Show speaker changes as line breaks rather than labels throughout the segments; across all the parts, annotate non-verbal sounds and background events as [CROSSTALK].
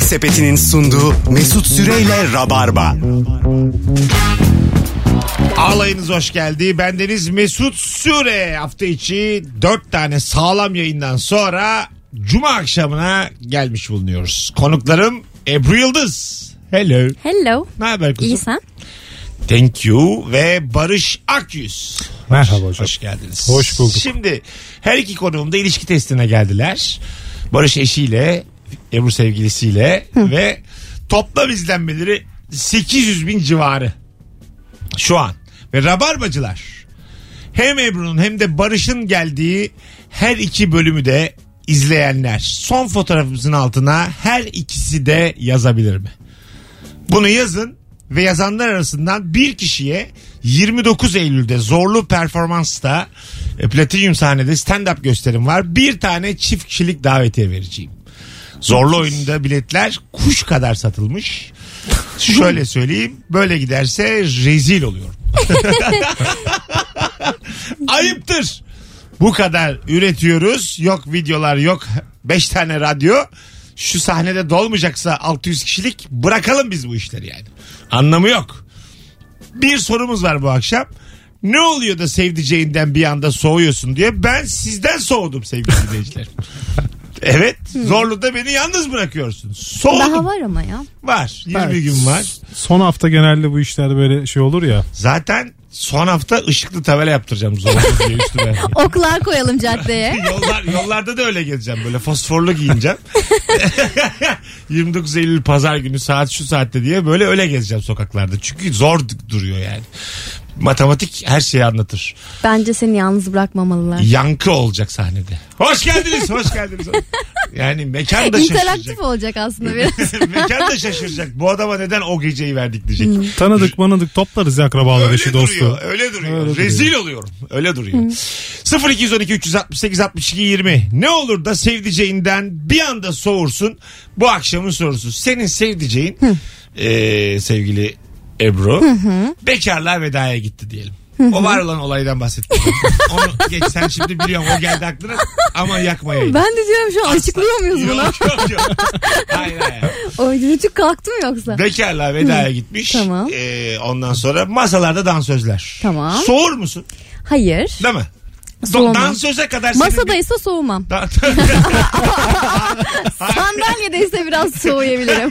Sepeti'nin sunduğu Mesut Süreyle Rabarba.
Ağlayınız hoş geldi. Bendeniz Mesut Süre. Hafta içi dört tane sağlam yayından sonra Cuma akşamına gelmiş bulunuyoruz. Konuklarım Ebru Yıldız. Hello.
Hello.
Ne haber kuzum?
İyi sen?
Thank you. Ve Barış Akyüz.
Merhaba hocam.
Hoş geldiniz.
Hoş bulduk.
Şimdi her iki konuğum da ilişki testine geldiler. Barış eşiyle, Ebru sevgilisiyle ve toplam izlenmeleri 800 bin civarı şu an. Ve Rabarbacılar hem Ebru'nun hem de Barış'ın geldiği her iki bölümü de izleyenler son fotoğrafımızın altına her ikisi de yazabilir mi? Bunu yazın ve yazanlar arasından bir kişiye 29 Eylül'de zorlu performansta e, Platinum sahnede stand-up gösterim var. Bir tane çift kişilik davetiye vereceğim. Zorlu oyununda biletler kuş kadar satılmış. Şöyle söyleyeyim böyle giderse rezil
[LAUGHS]
oluyorum. Ayıptır. Bu kadar üretiyoruz. Yok videolar yok. 5 tane radyo. Şu sahnede dolmayacaksa 600 kişilik bırakalım biz bu işleri yani. Anlamı yok. Bir sorumuz var bu akşam. Ne oluyor da sevdiceğinden bir anda soğuyorsun diye. Ben sizden soğudum sevgili
[LAUGHS]
dinleyiciler. Evet. Zorlu da beni yalnız bırakıyorsun. Soğudum.
Daha var ama ya.
var. 20 gün var.
Son hafta genelde bu işler böyle şey olur ya.
Zaten son hafta ışıklı tabela yaptıracağım zorlu diye üstüme.
Oklar koyalım caddeye.
Yollar, yollarda da öyle gezeceğim böyle fosforlu giyineceğim. [LAUGHS] 29 Eylül pazar günü saat şu saatte diye böyle öyle gezeceğim sokaklarda. Çünkü zor d- duruyor yani. Matematik her şeyi anlatır.
[LAUGHS] Bence seni yalnız bırakmamalılar.
Yankı olacak sahnede. Hoş geldiniz, hoş geldiniz. Yani mekan da şaşıracak.
[LAUGHS] İnteraktif olacak aslında biraz. [LAUGHS]
[LAUGHS] mekan da şaşıracak. Bu adama neden o geceyi verdik diyecek.
Tanıdık manıdık toplarız ya akrabalar
şey
Öyle
eşi
duruyor.
dostu.
Öyle duruyor.
Öyle
Rezil oluyorum. Öyle duruyor. 0212 368 62 20. Ne olur da sevdiceğinden bir anda soğursun. Bu akşamın sorusu. Senin sevdiceğin eee, sevgili Ebru bekarlığa vedaya gitti diyelim. O var olan olaydan bahsettim.
[LAUGHS]
Onu geç sen şimdi biliyorsun o geldi aklına ama yakma yayını.
ben de diyorum şu an açıklıyor muyuz bunu?
Yok yok yok. Hayır hayır.
[LAUGHS] Oy rütük kalktı mı yoksa?
Bekarlığa vedaya gitmiş.
Tamam.
Ee, ondan sonra masalarda dansözler.
Tamam.
Soğur musun?
Hayır.
Değil mi? Do-
Soğumam.
dansöze kadar senin bir-
Masadaysa soğumam.
Da- [LAUGHS]
Sandalyedeyse biraz soğuyabilirim.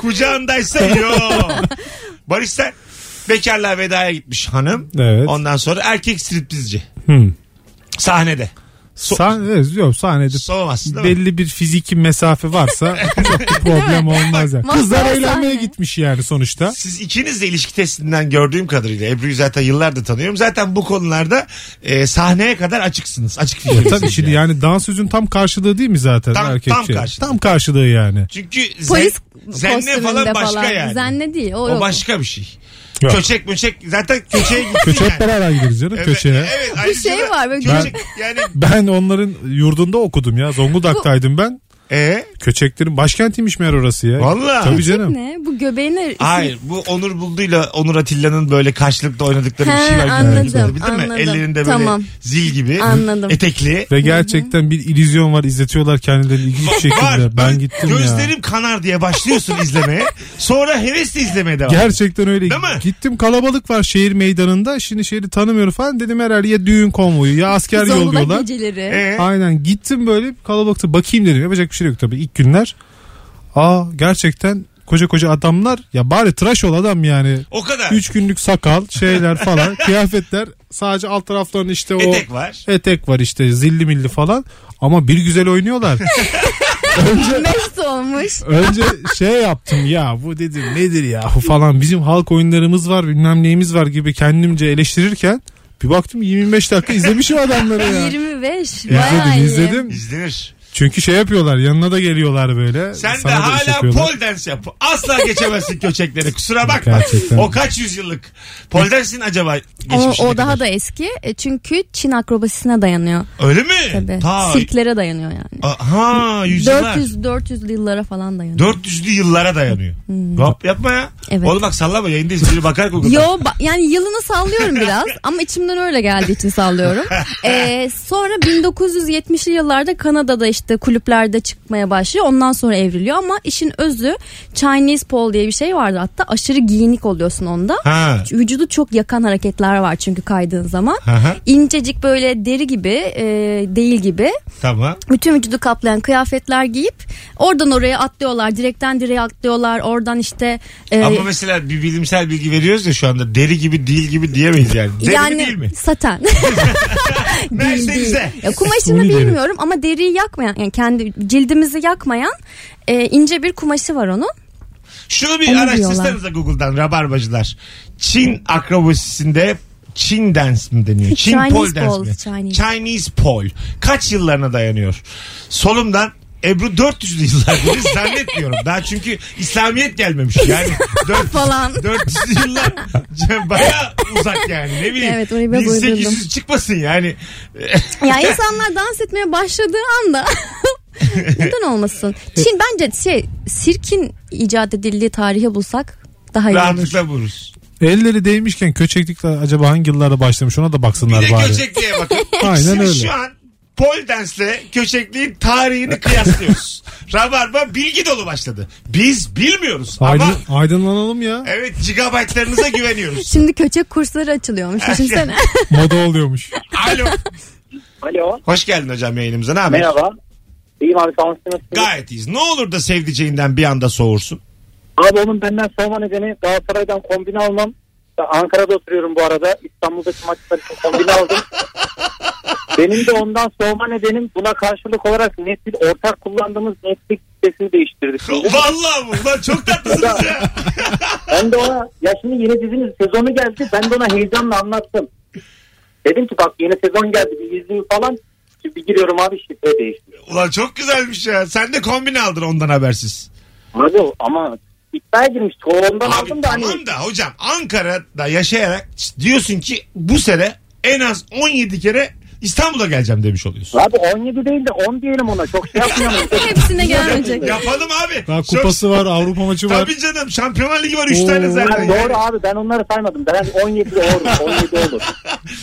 Kucağındaysa
[LAUGHS]
yok. Barış sen bekarlığa vedaya gitmiş hanım.
Evet.
Ondan sonra erkek striptizci.
Hmm.
Sahnede. So-
Sahne, evet, e, yok, sahnede
Soğumazsın değil mi?
belli bir fiziki
[LAUGHS]
mesafe varsa çok bir problem olmaz. Yani.
Bak,
Kızlar
masaya
eğlenmeye
sahne.
gitmiş yani sonuçta.
Siz ikiniz de ilişki testinden gördüğüm kadarıyla Ebru'yu zaten yıllardır tanıyorum. Zaten bu konularda e, sahneye kadar açıksınız. Açık fikirlisiniz.
Tabii şimdi yani dans sözün tam karşılığı değil mi zaten
Tam- tam
erkekçe?
karşılığı.
Tam karşılığı yani.
Çünkü zen-
Polis
zenne
kostümünde
falan başka yani.
Zenne değil. O,
o
yok.
başka bir şey.
Yok.
Köçek möçek zaten köçeğe gittin
Köçek
yani.
beraber gideriz canım
Evet,
köşeye.
Evet, ayrıca
şey
da
var böyle
köçek yani
Ben onların yurdunda okudum ya. Zonguldak'taydım ben.
e
Köçeklerin başkentiymiş meğer orası ya.
Vallahi.
Tabii canım.
Ne? Bu göbeğine...
Hayır bu Onur Buldu'yla Onur Atilla'nın böyle karşılıklı oynadıkları bir
He,
şey var. gibi.
anladım,
Bildin mi?
anladım.
Ellerinde böyle
Tamam.
zil gibi.
Anladım.
Etekli.
Ve gerçekten bir illüzyon var. izletiyorlar kendilerini ilginç bir şekilde.
Var.
Ben gittim
Gözlerim
ya.
kanar diye başlıyorsun izlemeye. Sonra hevesle izlemeye devam.
Gerçekten öyle.
Değil mi?
Gittim kalabalık var şehir meydanında. Şimdi şehri tanımıyorum falan. Dedim herhalde ya düğün konvoyu ya asker
Zonguldak
yolluyorlar.
geceleri.
Ee,
Aynen gittim böyle kalabalıkta bakayım dedim. Yapacak bir şey yok tabii ilk günler. Aa gerçekten koca koca adamlar ya bari tıraş ol adam yani.
o kadar.
3 günlük sakal şeyler falan [LAUGHS] kıyafetler sadece alt taraftan işte o
Etek var.
etek var işte zilli milli falan ama bir güzel oynuyorlar. önce
Mest olmuş.
önce şey yaptım ya bu dedim nedir ya falan bizim halk oyunlarımız var bilmem neyimiz var gibi kendimce eleştirirken bir baktım 25 dakika izlemişim adamları ya.
25. Bayağı
İzledim
iyi.
izledim.
İzlenir.
Çünkü şey yapıyorlar yanına da geliyorlar böyle.
Sen
Sana
de
da iş
hala
yapıyorlar.
pole dance yap. Asla geçemezsin
[LAUGHS]
köçekleri. Kusura bakma.
Gerçekten.
O kaç yüzyıllık. Pole dance'in acaba
O,
geçmişine
o daha
kadar?
da eski E, çünkü Çin akrobasisine dayanıyor.
Öyle mi?
Tabii.
Ta-
Sirklere dayanıyor yani.
Aha yüzyıllar.
400 400'lü yıllara falan dayanıyor.
400'lü yıllara dayanıyor. Yap, yapma ya.
Hmm. Evet.
Oğlum bak sallama yayındayız. Biri bakar Google'da.
Yo ba- yani yılını
[LAUGHS]
sallıyorum biraz ama Ee, içimden öyle geldiği için sallıyorum. E, sonra 1970'li yıllarda Kanada'da işte kulüplerde çıkmaya başlıyor. Ondan sonra evriliyor ama işin özü Chinese pole diye bir şey vardı hatta. Aşırı giyinik oluyorsun onda.
Ha.
Vücudu çok yakan hareketler var çünkü kaydığın zaman.
Aha,
İncecik böyle deri gibi e, değil gibi
tamam.
bütün vücudu kaplayan kıyafetler giyip oradan oraya atlıyorlar. Direkten direğe atlıyorlar. Oradan işte e,
Ama mesela bir bilimsel bilgi veriyoruz ya şu anda deri gibi değil gibi diyemeyiz yani. Deri mi, değil mi?
[LAUGHS] saten. Değil, değil.
Mercedes'e.
Ya kumaşını
Suni deri.
bilmiyorum ama deriyi yakmayan yani kendi cildimizi yakmayan e, ince bir kumaşı var onun.
Şunu bir
Onu
araştırsanıza Google'dan rabarbacılar. Çin akrobasisinde Çin dance mi deniyor? Çin
Chinese
pole dance
pole,
mi?
Chinese.
Chinese pole. Kaç yıllarına dayanıyor? Solumdan Ebru 400'lü yıllardır zannetmiyorum. Daha çünkü İslamiyet gelmemiş.
[LAUGHS]
Yani 400,
Falan.
400'lü yıllar baya uzak yani. Ne bileyim.
Evet, orayı ben
1800
uydurdum.
çıkmasın yani. [LAUGHS]
Ya insanlar dans etmeye başladığı anda neden olmasın? Çin bence şey sirkin icat edildiği tarihe bulsak daha iyi olur.
Rahatlıkla buluruz.
Elleri değmişken köçeklikle acaba hangi yıllarda başlamış ona da baksınlar
Bir de
bari.
köçekliğe bakın.
[LAUGHS] Aynen
Aynen
öyle.
Şu an pole dance'le köçekliğin tarihini
[LAUGHS]
kıyaslıyoruz. Rabarba bilgi dolu başladı. Biz bilmiyoruz ama
Aydın, aydınlanalım ya.
evet gigabaytlarınıza
[LAUGHS]
güveniyoruz.
Şimdi köçek kursları açılıyormuş düşünsene. [LAUGHS]
Moda oluyormuş.
Alo.
Alo.
Hoş geldin hocam yayınımıza. Ne haber?
Merhaba. İyiyim abi sağ olasın. Nasılsın?
Gayet iyiyiz. Ne olur da sevdiceğinden bir anda soğursun.
Abi onun benden sorma nedeni Galatasaray'dan kombine almam. Ben Ankara'da oturuyorum bu arada. İstanbul'daki maçlar için
[LAUGHS]
kombine aldım. Benim de ondan soğuma nedenim buna karşılık olarak nesil ortak kullandığımız Netflix sitesini
[LAUGHS]
değiştirdik. [LAUGHS]
Vallahi bu. Lan çok tatlısınız ya. [LAUGHS]
Ben de ona ya şimdi yeni dizinin sezonu geldi. Ben de ona heyecanla anlattım. Dedim ki bak yeni sezon geldi bir izleyeyim falan. Şimdi bir giriyorum abi şifre değişti.
Ulan çok güzelmiş ya. Sen de kombine aldın ondan habersiz.
Abi ama iddiaya girmiştik. O Ondan
Abi
aldım da hani.
tamam da hocam Ankara'da yaşayarak diyorsun ki bu sene en az 17 kere İstanbul'a geleceğim demiş oluyorsun.
Abi 17 değil de 10 diyelim ona. Çok şey yapmayalım.
Hepsine gelmeyecek.
Yapalım abi.
Daha
Çok-
kupası var, Avrupa maçı var.
Tabii canım Şampiyonlar Ligi var 3
Oo.
tane zaten.
Ben doğru abi ben onları saymadım. Ben 17 olur. 17 olur.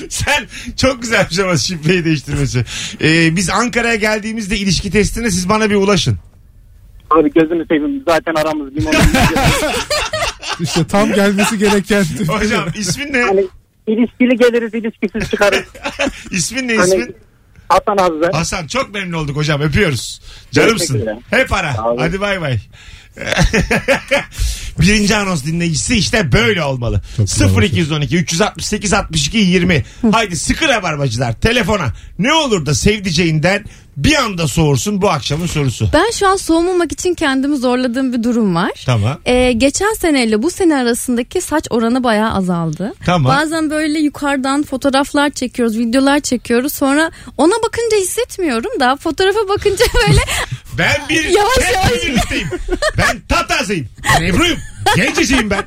Sen çok güzelmiş ama şifreyi değiştirmesi. Ee, biz Ankara'ya geldiğimizde ilişki testine siz bana bir ulaşın.
Abi gözünü seveyim. Zaten aramız limon.
İşte tam gelmesi gereken.
Hocam ismin [LAUGHS] ne?
hani ilişkili geliriz ilişkisiz çıkarız.
ismin ne
Hani
ismin?
Hasan Azze.
Hasan çok memnun olduk hocam öpüyoruz. Canımsın.
Teşekkürler.
Hep ara.
Sağ olun.
Hadi bay [LAUGHS] bay. Birinci anons dinleyicisi işte böyle olmalı.
Çok güzel
0212 368 62 20. Haydi sıkı rabarbacılar telefona. Ne olur da sevdiceğinden bir anda soğursun bu akşamın sorusu.
Ben şu an soğumamak için kendimi zorladığım bir durum var.
Tamam.
Ee, geçen seneyle bu sene arasındaki saç oranı bayağı azaldı.
Tamam.
Bazen böyle yukarıdan fotoğraflar çekiyoruz, videolar çekiyoruz. Sonra ona bakınca hissetmiyorum da fotoğrafa bakınca [LAUGHS]
[LAUGHS]
böyle
Ben bir
Yavaş yavaş.
birlikteyim. Ben tatazıyım. Ben Ebru'yum. Genceciyim ben.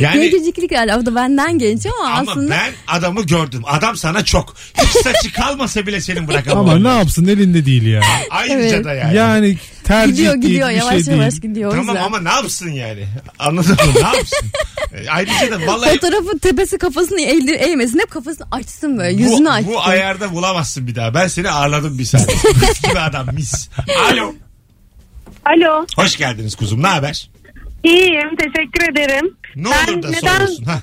Yani
genceciklik yani. O da benden genç ama,
Hani- ama
aslında
ben adamı gördüm. Adam sana çok. Hiç saçı kalmasa bile senin bırakamam.
Ama ne yapsın elinde değil ya.
Ayrıca
Evet.
da yani.
Yani tercih
gidiyor
değil,
gidiyor
bir
yavaş
şey
yavaş
değil.
gidiyor. o
Tamam
yüzden.
ama ne yapsın yani? Anladın mı? Ne
[LAUGHS]
yapsın? E, Ayrıca da vallahi
Fotoğrafın tepesi kafasını eğdi, eğmesin. Hep kafasını açsın böyle.
bu,
Yüzünü açsın.
bu ayarda bulamazsın bir daha. Ben seni ağırladım bir saniye. [LAUGHS] Mis gibi adam mis. Alo.
Alo.
Hoş geldiniz kuzum. Ne haber?
iyiyim Teşekkür ederim.
Ne
Ben
olur da
neden-
soğursun. Ha.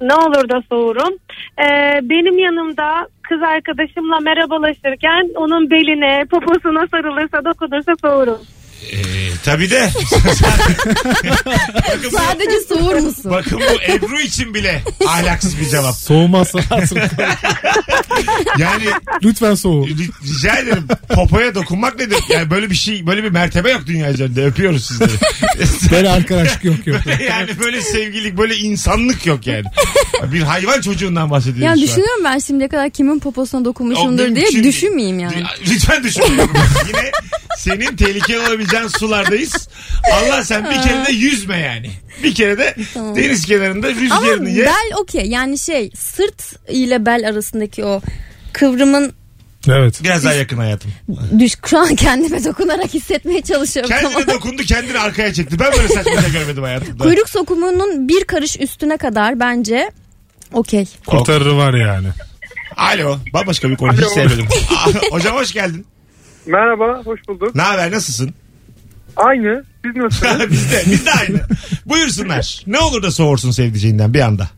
Ne olur da soğurum. Ee, benim yanımda kız arkadaşımla merhabalaşırken onun beline, poposuna sarılırsa, dokunursa soğurum.
Ee, tabii de. [LAUGHS] Bakın bu-
Sadece
[LAUGHS]
soğur musun?
Bakın bu Ebru için bile ahlaksız bir cevap. [LAUGHS]
Soğumazsa lazım.
Yani
Lütfen soğu.
ri- rica ederim popoya dokunmak nedir? Yani böyle bir şey böyle bir mertebe yok dünya üzerinde öpüyoruz sizleri. [LAUGHS]
Ben arkadaşlık yok yok.
yani böyle sevgilik böyle insanlık yok yani. Bir hayvan çocuğundan bahsediyoruz
Yani
şu an.
düşünüyorum ben şimdiye kadar kimin poposuna
O
dokunmuşumdur diye
mümkün değil.
düşünmeyeyim yani.
Lütfen düşünmüyorum. Yine senin tehlikeli olabileceğin sulardayız. Allah sen bir kere de yüzme yani. Bir kere de
Tamam.
deniz kenarında
Ama
rüzgarını ye.
bel okey yani şey sırt ile bel arasındaki o kıvrımın
Evet.
Biraz daha yakın hayatım.
düş şu an kendime dokunarak hissetmeye çalışıyorum.
Kendine dokundu kendini arkaya çekti. Ben böyle saçma şey görmedim hayatımda.
Kuyruk sokumunun bir karış üstüne kadar bence okey.
Kurtarırı var yani.
[LAUGHS] Alo. Bambaşka bir konu. Hiç sevmedim. Aa, Hocam hoş geldin.
Merhaba, hoş bulduk.
Ne haber nasılsın?
Aynı, biz nasılsınız?
[LAUGHS] biz de, biz de aynı. Buyursunlar. Ne olur da soğursun sevdiceğinden bir anda.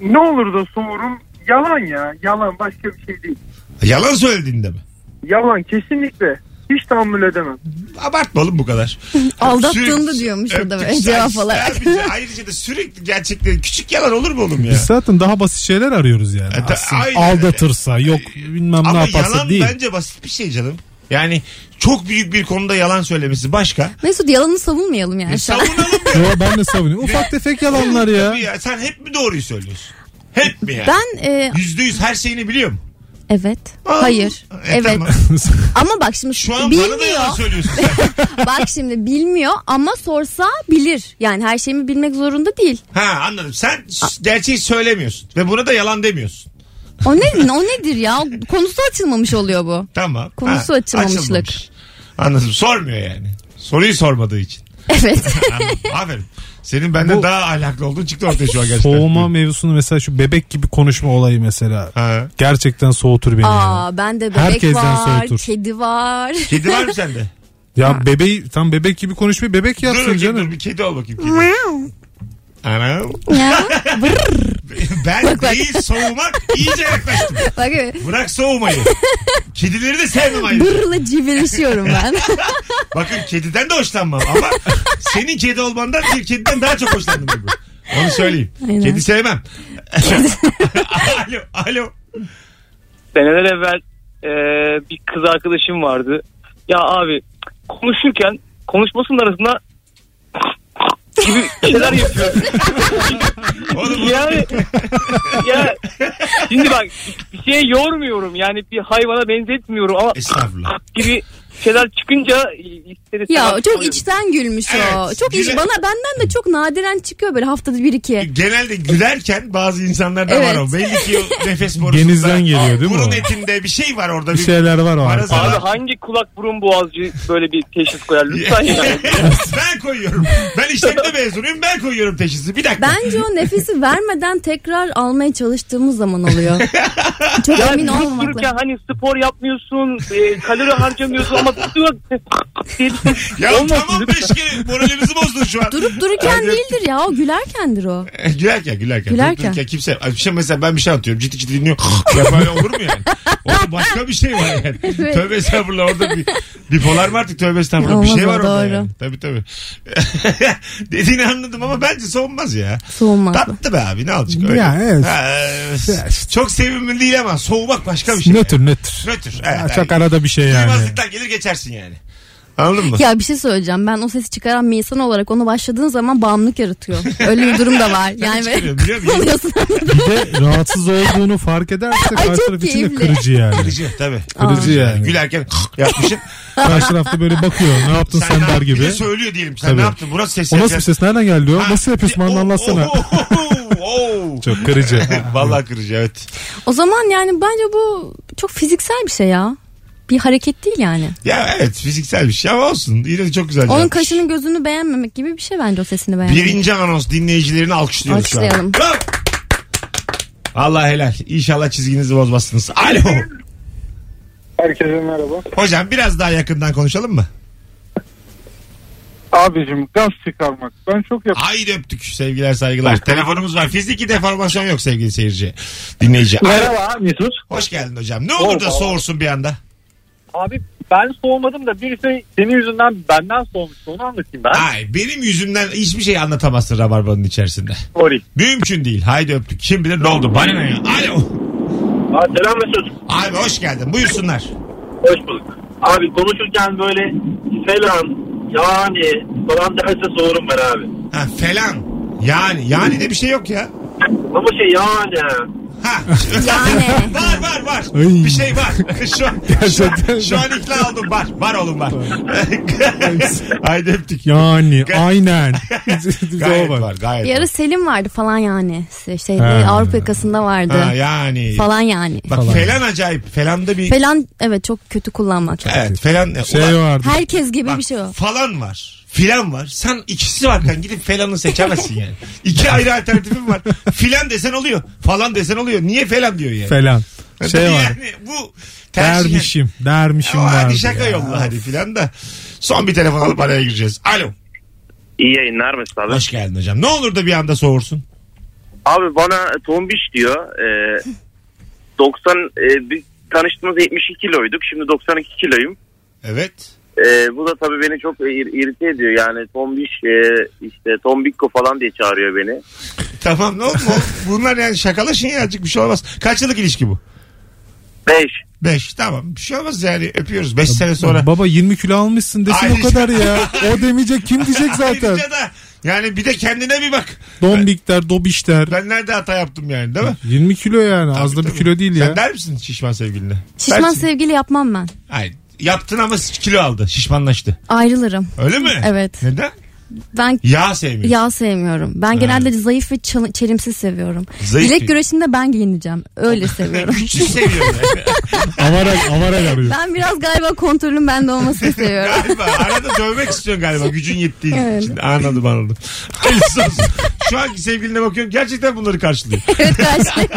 ne olur da soğurum, yalan ya, yalan başka bir şey değil.
Yalan söylediğinde mi?
Yalan kesinlikle. Hiç tahammül edemem.
Abartma oğlum bu
[LAUGHS]
kadar.
Aldattığında
Sürekli-
diyormuş o da
Öptük,
böyle cevap
sen-
olarak.
sen bize- Ayrıca da sürekli gerçekleri küçük yalan olur mu oğlum ya?
Biz zaten daha basit şeyler arıyoruz yani.
E, ta-
Aslında
aynen öyle.
aldatırsa yok bilmem ne
Ama
yaparsa
yalan
değil.
bence basit bir şey canım. Yani çok büyük bir konuda yalan söylemesi başka.
Mesut yalanı savunmayalım yani. şu an.
Savunalım [LAUGHS] ya.
Yo, ben de savunuyorum. Ufak tefek yalanlar
Tabii
ya.
ya. Sen hep mi doğruyu söylüyorsun? Hep mi ya?
Ben e,
Yüzde yüz her şeyini biliyor mu?
evet.
Aa,
Hayır.
e,
Evet.
tamam.
Ama bak şimdi
Şu an bana da yalan
bilmiyor.
söylüyorsun.
[LAUGHS] Bak şimdi bilmiyor ama sorsa bilir. Yani her şeyimi bilmek zorunda değil.
ha anladım. Sen s- gerçeği söylemiyorsun. Ve buna da yalan demiyorsun.
O ne o nedir ya? Konusu açılmamış oluyor bu.
Tamam.
Konusu açılmamışlık.
açılmamış. Anladım. Sormuyor yani. Soruyu sormadığı için.
Evet.
Anladım. Aferin. Senin benden
Bu-
daha ahlaklı olduğun çıktı ortaya şu an gerçekten.
Soğuma mevzusunu mesela şu bebek gibi konuşma olayı mesela.
Ha.
Gerçekten soğutur beni ya.
Aa ben de bebek
Herkesten
var,
soğutur.
kedi var.
Kedi var mı
[LAUGHS]
sende?
Ya bebeği tam bebek gibi konuşmayı bebek
dur,
yapsın
bakayım,
canım.
dur bir kedi ol bakayım. Kedi. Ana.
[LAUGHS] ya.
Ben
bak.
değil soğumak iyice yaklaştım.
Bak
Bırak soğumayı. Kedileri de sevmem ayrıca.
bırla
[LAUGHS]
civilişiyorum ben.
Bakın kediden de hoşlanmam ama senin kedi olmandan bir kediden daha çok hoşlandım bu. Onu söyleyeyim.
Aynen.
Kedi sevmem. [LAUGHS] alo, alo.
seneler evvel e, bir kız arkadaşım vardı. Ya abi konuşurken konuşmasının arasında
[LAUGHS]
gibi şeyler yapıyor.
Oğlum,
Yani ya şimdi bak bir şeye yormuyorum yani bir hayvana benzetmiyorum ama
Estağfurullah.
gibi şeyler çıkınca ister istemez
ya çok
oluyor.
içten gülmüş o.
Evet,
Çok iş
güzel.
bana benden de çok nadiren çıkıyor böyle haftada bir iki.
Genelde gülerken bazı insanlarda
Evet.
var o. Belli ki o nefes borusunda.
Genizden geliyor değil mi
Burun
o?
etinde bir şey var orada.
Bir şeyler var o
Arası
arada.
Abi
var.
hangi kulak burun boğazcı böyle bir teşhis koyar lütfen
[LAUGHS]
yani.
[LAUGHS] ben koyuyorum. Ben işletme mezunuyum ben koyuyorum teşhisi. Bir dakika.
Bence o nefesi vermeden tekrar almaya çalıştığımız zaman
[LAUGHS]
oluyor. Çok emin
Yani
olmamak
konuşurken
lazım.
hani spor yapmıyorsun, e, kalori harcamıyorsun ama
Ya
Olmasın
tamam
değil mi?
beş kere moralimizi bozdun şu [LAUGHS] an.
Durup dururken
Bence-
değildir ya o gülerkendir o.
gülerken gülerken.
Gülerken.
Gülerken. kimse. Bir şey mesela ben bir şey anlatıyorum. Ciddi ciddi dinliyor. [LAUGHS] ya böyle olur mu yani? Orada başka bir şey var
[LAUGHS]
yani. Tövbe estağfurullah orada bir bipolar mı artık tövbe estağfurullah bir
Olmaz
şey
o,
var orada
doğru.
yani. Tabii tabii. [LAUGHS] Dediğini anladım ama bence soğumaz ya.
Soğumaz.
Tatlı be abi ne alacak öyle.
Ya, evet.
Ha, çok sevimli değil ama soğumak başka bir şey.
Nötr nötr.
Nötr. Evet,
Ya,
yani.
Çok arada bir şey yani.
Duymazlıktan gelir geçersin yani. Anladın mı?
Ya bir şey söyleyeceğim. Ben o sesi çıkaran bir insan olarak onu başladığın zaman bağımlılık yaratıyor. Öyle bir durum da var. Yani böyle
Çıkarıyorum, biliyor musun?
[LAUGHS] oluyorsun.
Bir de rahatsız olduğunu fark ederse
Ay,
karşı
çok
taraf için de
keyifli.
kırıcı yani.
Kırıcı tabii.
Kırıcı yani.
Gülerken yapmışım.
Karşı tarafta böyle bakıyor. Ne yaptın [LAUGHS] sen,
ne
der
yap- bir
gibi.
de söylüyor diyelim. Sen
Tabii.
ne yaptın? Burası ses
O nasıl
yapıyor.
bir ses? Nereden geldi o?
Ha,
Nasıl yapıyorsun?
o-
Bana anlatsana.
o- o- o-
[LAUGHS] Çok kırıcı.
[LAUGHS] Vallahi kırıcı evet.
O zaman yani bence bu çok fiziksel bir şey ya. Bir hareket değil yani.
Ya evet fiziksel bir şey ama olsun. Yine de çok güzel.
Onun
cevapmış.
kaşını gözünü beğenmemek gibi bir şey bence o sesini beğenmek.
Birinci anons dinleyicilerini alkışlıyoruz
Alkışlayalım.
şu an. Bravo. Allah helal. İnşallah çizginizi bozmazsınız. Alo.
Herkese merhaba.
Hocam biraz daha yakından konuşalım mı?
Abicim gaz çıkarmak. Ben çok yap.
Haydi öptük. Sevgiler saygılar. Telefonumuz var. Fiziki deformasyon yok sevgili seyirci. Dinleyici.
Merhaba Mesut.
Hoş geldin hocam. Ne olur da
Merhaba.
soğursun bir anda.
Abi ben soğumadım da bir şey senin yüzünden benden soğumuştu onu anlatayım ben.
Ay benim yüzümden hiçbir şey anlatamazsın rabarbanın içerisinde.
Sorry.
Mümkün değil. Haydi öptük. Kim bilir ne oldu? Bana ne ya? Alo.
Aa, selam Mesut.
Abi hoş geldin. Buyursunlar.
Hoş bulduk. Abi konuşurken böyle selam, yani falan derse soğurum ben abi.
Ha, falan. Yani. Yani de bir şey yok ya.
Ama şey yani.
Ha.
Yani.
[LAUGHS] var var var.
Ay.
Bir şey var. Şu an, şu, an,
[LAUGHS] Gerçekten.
şu an ikna oldum. Var. Var oğlum var. [LAUGHS] Haydi öptük.
[LAUGHS] Yani
[LAUGHS]
aynen.
Gayet
Gayet
var. Gayet
Bir
var.
ara Selim vardı falan yani. Şeyde,
Ha.
Avrupa yakasında vardı.
Ha, yani.
Falan yani.
Bak
Falan.
falan acayip. Felanda bir...
Falan evet çok kötü kullanmak.
evet falan.
Şey
Ulan-
vardı.
Herkes gibi
Bak,
bir şey o.
Falan var. Filan var. Sen ikisi varken gidip falanı seçemezsin
[LAUGHS]
yani. İki ayrı alternatifin var. Filan desen oluyor. Falan desen oluyor. Niye falan diyor yani.
Falan. Şey
[LAUGHS]
var. şey
yani bu tercih.
Dermişim. Dermişim
Ama
var.
şey. hadi şaka yolla hadi filan da. Son bir telefon alıp araya gireceğiz. Alo.
İyi yayınlar Mesut abi.
Hoş geldin hocam. Ne olur da bir anda soğursun.
Abi bana tombiş diyor. Ee, 90 e, biz tanıştığımız 72 kiloyduk. Şimdi 92 kiloyum.
Evet.
Ee, bu da tabii beni çok ir- irite ediyor. Yani tombiş e, işte tombikko falan diye çağırıyor beni.
Tamam ne oldu? Bunlar yani şakalaşın ya azıcık bir şey olmaz. Kaç yıllık ilişki bu?
5.
Beş. Tamam bir şey olmaz yani öpüyoruz. Beş sene sonra.
Baba 20 kilo almışsın desin
Ayrıca-
o
[LAUGHS]
kadar ya. O demeyecek kim diyecek zaten.
Ayrıca da yani bir de kendine bir bak.
Dombik der, dobiş der.
Ben nerede hata yaptım yani değil mi?
20 kilo yani az da
Tabii,
bir
tabii.
kilo değil
Sen
ya.
der misin şişman sevgiline?
Şişman
Dersin.
sevgili yapmam ben.
Hayır. Yaptın ama kilo aldı. Şişmanlaştı.
Ayrılırım.
Öyle mi?
Evet.
Neden?
Ben
Yağ sevmiyor.
yağ sevmiyorum. Ben genelde zayıf ve çal- çelimsiz seviyorum.
Zayıf
Bilek
mi?
güreşinde ben giyineceğim.
[LAUGHS]
Öyle seviyorum.
Güçlü seviyor. yani.
Avara, avara arıyor.
ben biraz galiba kontrolün bende
[LAUGHS]
olmasını seviyorum.
galiba. Arada dövmek istiyorsun galiba. Gücün yettiği
Evet.
için. Anladım anladım. Hayırlısı olsun. Şu anki sevgiline bakıyorum. Gerçekten bunları karşılıyor.
evet karşı.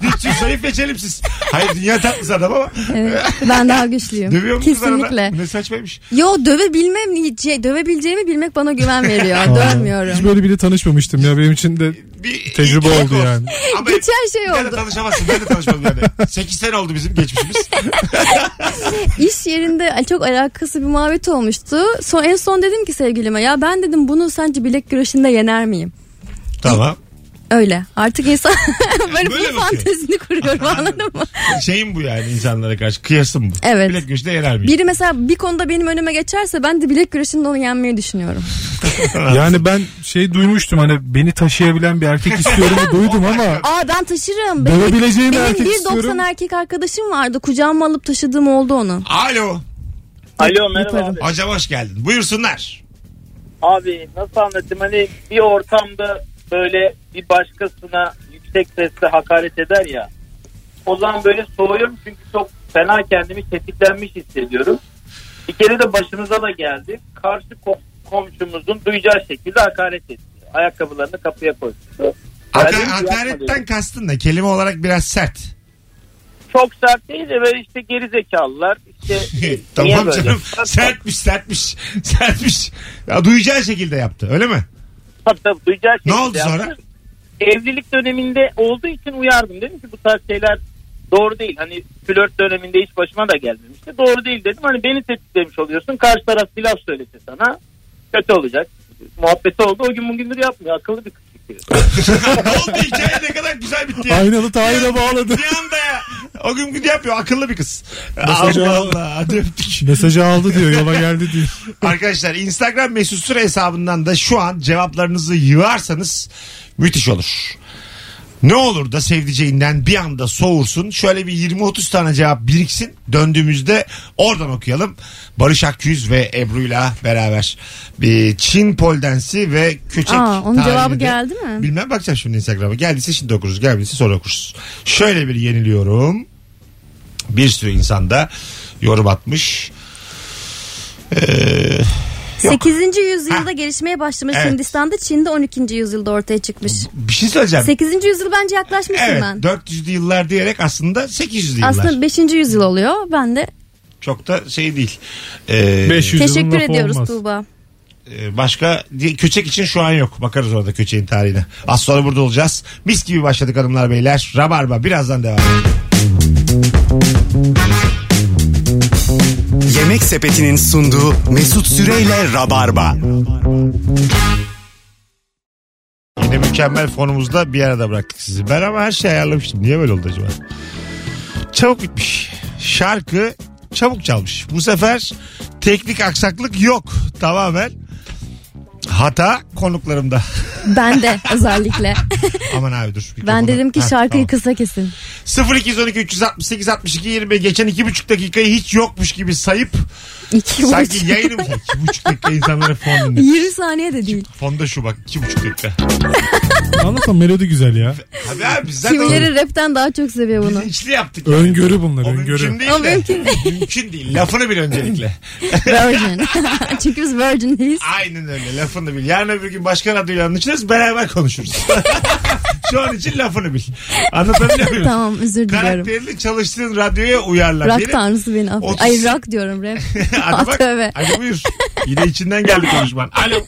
Güçsüz zayıf ve çelimsiz. Hayır dünya tatlısı adam ama.
Evet, ben daha güçlüyüm.
Dövüyor musunuz
Kesinlikle.
arada? Ne saçmaymış.
Yo dövebilmem, ce- dövebileceğimi bilmek bana güven veriyor.
Hiç
Dövmüyorum.
böyle biriyle tanışmamıştım ya benim için de
Bir,
tecrübe
ilk-
oldu yani.
Ama
Geçen şey
bir daha da
oldu.
tanışamazsın. Ben de tanışmadım yani. 8 sene oldu bizim geçmişimiz.
İş yerinde çok alakası bir muhabbet olmuştu. Son, en son dedim ki sevgilime ya ben dedim bunu sence bilek güreşinde yener miyim?
Tamam.
Öyle. Artık insan [LAUGHS]
Böyle
böyle, bu
bakıyor.
fantezini kuruyorum anladın mı?
Şeyim bu yani insanlara karşı. Kıyasım bu.
Evet.
Bilek güçte yener miyim?
Biri mesela bir konuda benim önüme geçerse ben de bilek güreşinde onu yenmeyi düşünüyorum.
Yani ben şey duymuştum hani beni taşıyabilen bir erkek istiyorumu duydum ama
Aa ben taşırım. Benim,
dövebileceğim
benim
erkek
1.90
istiyorum.
erkek arkadaşım vardı. Kucağıma alıp taşıdığım oldu onu.
Alo.
Alo merhaba
Yaparım.
abi.
Hocam hoş geldin. Buyursunlar.
Abi nasıl anlatayım hani bir ortamda böyle bir başkasına yüksek sesle hakaret eder ya. O zaman böyle soğuyorum çünkü çok fena kendimi tetiklenmiş hissediyorum. Bir kere de başımıza da geldi. Karşı ko- komşumuzun duyacağı şekilde hakaret etti. Ayakkabılarını kapıya koydu.
Haka-
Yani
hakaretten kastın da kelime olarak biraz sert.
Çok sert değil de böyle işte geri zekalılar.
[LAUGHS]
İşte [LAUGHS] niye
tamam
böyle?
canım.
Bak-
Sertmiş sertmiş. Sertmiş. Ya, duyacağı şekilde yaptı öyle mi? [LAUGHS]
Tabii tabii duyacağı
Ne
şekilde
oldu sonra?
yaptı. Evlilik döneminde olduğu için uyardım. Dedim ki bu tarz şeyler doğru değil. Hani flört döneminde hiç başıma da gelmemişti. Doğru değil dedim. Hani beni tetiklemiş oluyorsun. Karşı taraf bir laf söylese sana kötü olacak. Muhabbeti oldu. O gün bugündür yapmıyor. Akıllı bir kız. çünkü.
ne oldu hikaye ne kadar güzel bitti ya.
er-
Aynalı
[LAUGHS]
Tahir'e bağladı.
Bir anda ya. O gün gün yapıyor akıllı bir kız.
Mesaj
Allah
aldı.
Allah. Hadi öptük.
Mesajı aldı diyor yola geldi diyor.
Arkadaşlar Instagram mesut süre hesabından da şu an cevaplarınızı yığarsanız müthiş olur. Ne olur da sevdiceğinden bir anda soğursun. Şöyle bir 20-30 tane cevap biriksin. Döndüğümüzde oradan okuyalım. Barış Akyüz ve Ebru'yla beraber bir Çin poldensi ve köçek.
Aa, onun
tarihini
cevabı
de-
geldi mi?
Bilmem bakacağım şimdi Instagram'a. Geldiyse şimdi okuruz. Gelmediyse sonra okuruz. Şöyle bir yeniliyorum. Bir sürü insan da yorum atmış. Ee,
8. yüzyılda gelişmeye başlamış
Evet.
Hindistan'da Çin'de 12. yüzyılda ortaya çıkmış.
bir şey söyleyeceğim.
8. yüzyıl bence yaklaşmışım
Evet
ben.
400'lü yıllar diyerek aslında 800'lü yıllar.
Aslında 5. yüzyıl oluyor. Ben de
Çok da şey değil. Ee,
500
teşekkür ediyoruz Tuğba.
e, Başka diye- köçek için şu an yok. Bakarız orada köçeğin tarihine. Az sonra burada olacağız. Mis gibi başladık hanımlar beyler. Rabarba birazdan devam.
Yemek Sepeti'nin sunduğu Mesut Süreyle Rabarba.
Yine mükemmel fonumuzda bir arada bıraktık sizi. Ben ama her şeyi ayarlamıştım. Niye böyle oldu acaba? Çabuk bitmiş. Şarkı çabuk çalmış. Bu sefer teknik aksaklık yok. Tamamen hata konuklarımda. [LAUGHS]
Ben de özellikle.
Aman abi dur.
ben dedim ki şarkıyı
kız.
kısa kesin.
0212 368 62 20 geçen iki buçuk dakikayı hiç yokmuş gibi sayıp
İki
sanki [LAUGHS]
buçuk. [LAUGHS]
yayını mı? İki buçuk dakika insanlara fon dinle.
20 saniye de değil.
Fonda şu bak iki buçuk dakika.
Anlatan melodi güzel ya.
Abi abi biz zaten
Kimileri rapten daha çok seviyor
biz
bunu.
içli yaptık. yani.
Öngörü bunlar
O
öngörü.
mümkün değil
O
de.
mümkün
[LAUGHS] Mümkün değil. Lafını bil öncelikle.
[LAUGHS]
[LAUGHS]
Virgin. Çünkü biz virgin değiliz.
Aynen öyle. Lafını bil. Yarın öbür gün başka radyoyla anlaşırız. Beraber konuşuruz. [LAUGHS] Şu an için lafını bil. Anlatabiliyor muyum?
tamam özür diliyorum.
Karakterini çalıştığın radyoya uyarlar.
Rock
Benim-
tanrısı beni
Otuz-
affet. Ay rock diyorum rap.
[LAUGHS] Hadi
[LAUGHS] Ah,
bak.
tövbe.
Hadi buyur. Yine içinden geldi konuşman. Alo.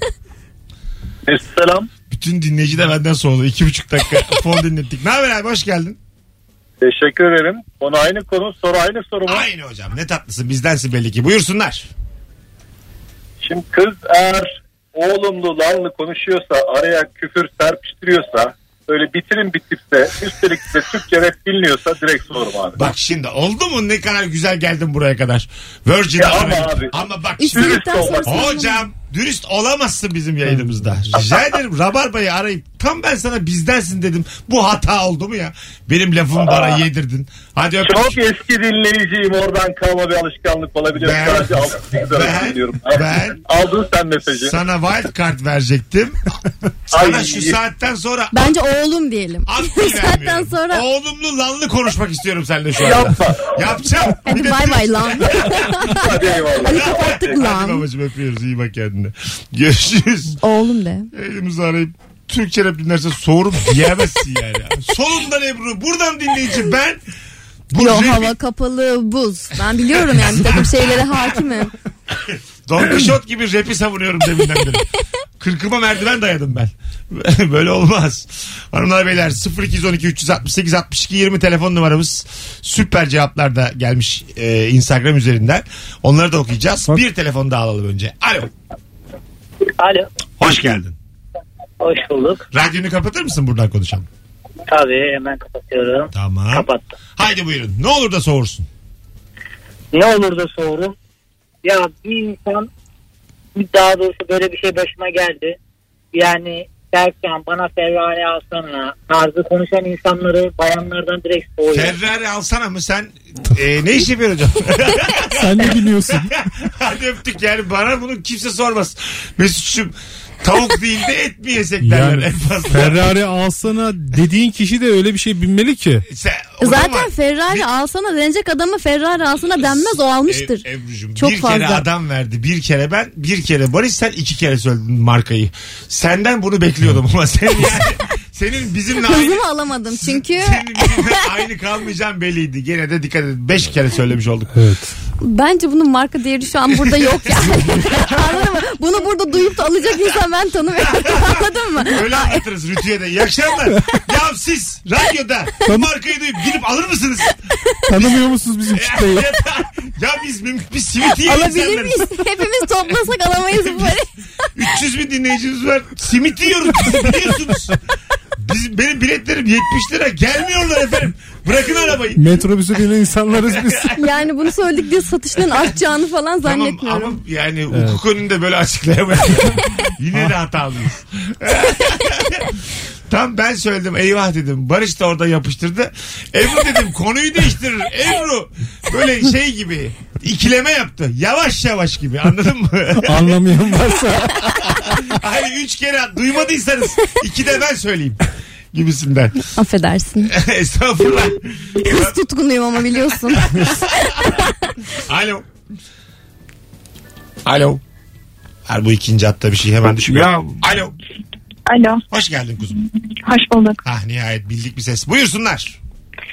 Selam.
Bütün dinleyici de benden sordu. İki buçuk dakika fon dinlettik. Ne haber abi hoş geldin.
Teşekkür ederim. Konu aynı konu soru aynı soru mu?
Aynı hocam ne tatlısın bizdensin belli ki. Buyursunlar.
Şimdi kız eğer oğlumlu lanlı konuşuyorsa araya küfür serpiştiriyorsa böyle bitirin bitipse üstelik de Türkçe rap bilmiyorsa direkt sorum abi.
Bak şimdi oldu mu ne kadar güzel geldin buraya kadar. Virgin'e
Ya E ama
ara-
abi.
Ama bak şimdi.
İstedikten sonra sorun
Hocam dürüst olamazsın bizim yayınımızda.
Hmm.
Rica ederim Rabarba'yı arayıp tam ben sana bizdensin dedim. Bu hata oldu mu ya? Benim lafımı bana yedirdin. Hadi
Çok
öpüyorum.
eski dinleyiciyim oradan kalma bir alışkanlık olabilir.
Ben-
Sadece aldın, ne güzel
Ben-
hatırlıyorum.
ben-
aldın sen mesajı.
Sana wild card
[LAUGHS]
verecektim. Sana
Ay.
şu saatten sonra
Bence oğlum diyelim. [LAUGHS]
Aklı
Zaten
vermiyorum.
sonra
Oğlumlu lanlı konuşmak istiyorum seninle şu anda.
Yapma.
Yapacağım. Bir
hadi
de
bay
dürüst-
bay [LAUGHS] lan.
Hadi eyvallah.
Hadi kapattık
Hadi
lan.
babacım öpüyoruz. İyi bak kendine. Görüşürüz.
Oğlum de.
Elimizi arayıp Türkçe rap dinlerse soğurum diyemezsin yani. Solundan Ebru. Buradan dinleyici ben. Bu
Yo
rapi-
hava kapalı buz. Ben biliyorum yani
[LAUGHS]
bir takım şeylere hakimim.
Don Quixote gibi rapi savunuyorum deminden beri. Kırkıma merdiven dayadım ben. [LAUGHS] Böyle olmaz. Hanımlar beyler 0212 368 62 20 telefon numaramız. Süper cevaplar da gelmiş e, Instagram üzerinden. Onları da okuyacağız.
Bak.
Bir telefon daha alalım önce. Alo.
Alo.
Hoş geldin.
Hoş bulduk.
Radyonu kapatır mısın buradan konuşalım?
Tabii hemen kapatıyorum.
Tamam.
Kapattım.
Haydi buyurun. Ne olur da soğursun.
Ne olur da sorum. Ya bir insan daha doğrusu böyle bir şey başıma geldi. Yani derken bana Ferrari alsana tarzı konuşan insanları bayanlardan direkt soğuyor.
Ferrari alsana mı sen? E, ne iş yapıyorsun hocam? [LAUGHS]
Sen ne biliyorsun?
Hadi öptük yani bana bunu kimse sormaz. Mesut'cum tavuk değil de et mi yesek [LAUGHS] derler
Yani
en fazla.
Ferrari alsana dediğin kişi de öyle bir şey binmeli ki.
Sen- o zaman-
Zaten Ferrari alsana denecek adamı Ferrari alsana denmez o almıştır.
Ev- Ebru'cum,
Çok
bir kere
fazla.
adam verdi. Bir kere ben, bir kere Barış sen iki kere söyledin markayı. Senden bunu bekliyordum ama sen yani, senin bizimle aynı,
Hızımı alamadım çünkü
senin bizimle aynı kalmayacağın belliydi. Gene de dikkat edin. Beş kere söylemiş olduk.
Evet.
bence bunun marka değeri şu an burada yok
[LAUGHS]
yani. [LAUGHS] Anladın mı? Bunu burada duyup da alacak insan ben tanımıyorum. [LAUGHS] Anladın mı?
Öyle anlatırız Rütü'ye de. İyi akşamlar. ya siz radyoda bu markayı duyup gidip alır mısınız?
Tanımıyor musunuz bizim
[LAUGHS]
kitleyi?
ya, ya biz mümkün bir simit yiyelim
Alabilir
senden.
miyiz? [LAUGHS] Hepimiz toplasak alamayız
[LAUGHS]
bu parayı.
300 bin dinleyicimiz var. Simit yiyoruz biz, biliyorsunuz. Biz, benim biletlerim 70 lira gelmiyorlar efendim. Bırakın arabayı.
Metrobüse binen insanlarız biz.
Yani bunu söyledik diye satışların artacağını falan
Tamam
zannetmiyorum.
ama yani hukuk önünde böyle açıklayamayız. Yine de hatalıyız. [LAUGHS] Tam ben söyledim eyvah dedim. Barış da orada yapıştırdı. Ebru dedim konuyu değiştirir. Ebru böyle şey gibi ikileme yaptı. Yavaş yavaş gibi anladın mı? [LAUGHS]
Anlamayan varsa.
Hani üç kere duymadıysanız iki de ben söyleyeyim gibisinden. [LAUGHS]
Affedersin.
Estağfurullah.
Kız tutkunuyum ama biliyorsun.
[LAUGHS] Alo. Alo. Her bu ikinci hatta bir şey hemen düşmüyor. Alo.
Alo.
Hoş geldin kuzum.
Hoş bulduk.
Ah nihayet bildik bir ses. Buyursunlar.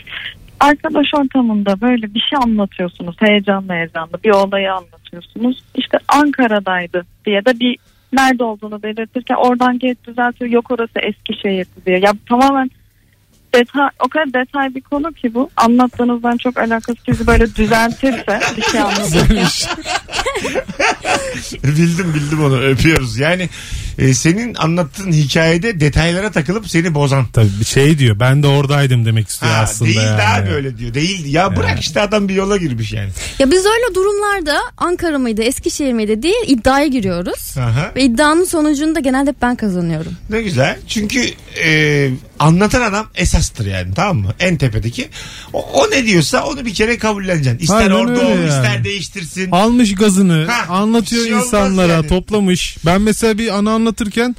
[LAUGHS]
Arkadaş ortamında böyle bir şey anlatıyorsunuz. Heyecanlı heyecanlı bir olayı anlatıyorsunuz. İşte Ankara'daydı diye de bir nerede olduğunu belirtirken oradan geç düzeltiyor. Yok orası Eskişehir'di diye. Ya tamamen detay, o kadar detay bir konu ki bu. Anlattığınızdan çok alakası sizi böyle düzeltirse bir şey anlatırken.
bildim bildim onu öpüyoruz. Yani e, senin anlattığın hikayede detaylara takılıp seni bozan.
Tabii bir şey diyor ben de oradaydım demek istiyor
Ha,
aslında.
değil
yani.
daha böyle diyor. Değildi. Ya bırak işte adam bir yola girmiş yani.
ya biz öyle durumlarda Ankara mıydı Eskişehir miydi diye iddiaya giriyoruz.
Aha.
Ve iddianın sonucunu da genelde hep ben kazanıyorum.
Ne güzel. Çünkü e, anlatan adam esastır yani tamam mı? En tepedeki. O, o ne diyorsa onu bir kere kabulleneceksin. İster
Aynen
orada
öyle
ol,
yani.
ister değiştirsin.
Almış gazını
Ha,
anlatıyor
bir şey olmaz
insanlara
yani.
toplamış. Ben mesela bir anı anlatırken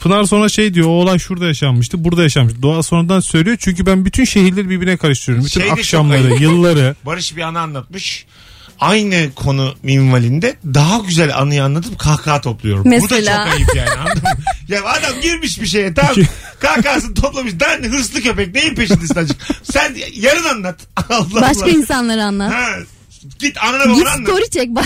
Pınar sonra şey diyor o olay şurada yaşanmıştı burada yaşanmıştı. Doğa sonradan söylüyor çünkü ben bütün şehirleri birbirine karıştırıyorum. Bütün
Şey de çok
akşamları
ayıp.
yılları.
Barış bir anı anlatmış. aynı konu minvalinde daha güzel anıyı anlatıp kahkaha topluyorum. Bu da
Mesela.
çok ayıp yani anladın
[LAUGHS]
mı? Ya adam girmiş bir şeye tamam kahkahasını toplamış. Ben hırslı köpek neyin peşindesin acık? Sen yarın anlat. [LAUGHS] Allah
Başka
Allah.
insanlara anlat.
Ha, git anana
Git
babana anlat.
story çek bana.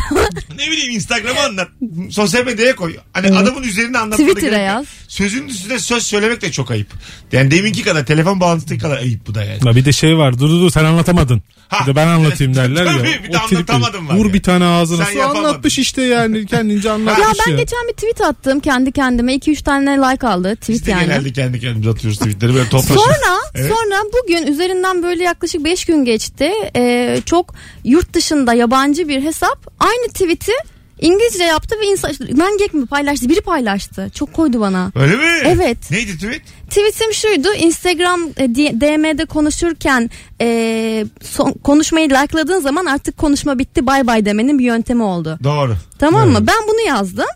Ne bileyim Instagram'a anlat. Sosyal medyaya koy. Hani adamın üzerine anlatmana
Twitter'a
gerek yok.
yaz.
Sözün üstüne söz söylemek de çok ayıp. Yani deminki kadar telefon bağlantısı kadar ayıp bu da yani.
La bir de şey var dur dur dur sen anlatamadın.
Ha.
bir de ben
[LAUGHS]
anlatayım derler ya.
Tabii, bir de
O trip
anlatamadım
verir.
var
Vur
ya.
bir tane ağzına.
Sen
Su
yapamadın.
anlatmış işte
[LAUGHS]
yani kendince anlatmış
şey
Ya ben geçen bir tweet attım kendi kendime. 2-3 tane like aldı. Tweet
Biz de
yani.
genelde [LAUGHS] kendi kendimize atıyoruz tweetleri böyle toplaşıyoruz.
Sonra
Evet.
sonra bugün üzerinden böyle yaklaşık 5 gün geçti. Ee, çok yurt dışında yabancı bir hesap aynı tweet'i İngilizce yaptı ve insan Nangek mi paylaştı? Biri paylaştı. Çok koydu bana.
Öyle mi?
Evet.
Neydi tweet?
Tweetim şuydu. Instagram e, D- DM'de konuşurken e, son- konuşmayı like'ladığın zaman artık konuşma bitti bay bay demenin bir yöntemi oldu.
Doğru.
Tamam mı? Ben bunu yazdım.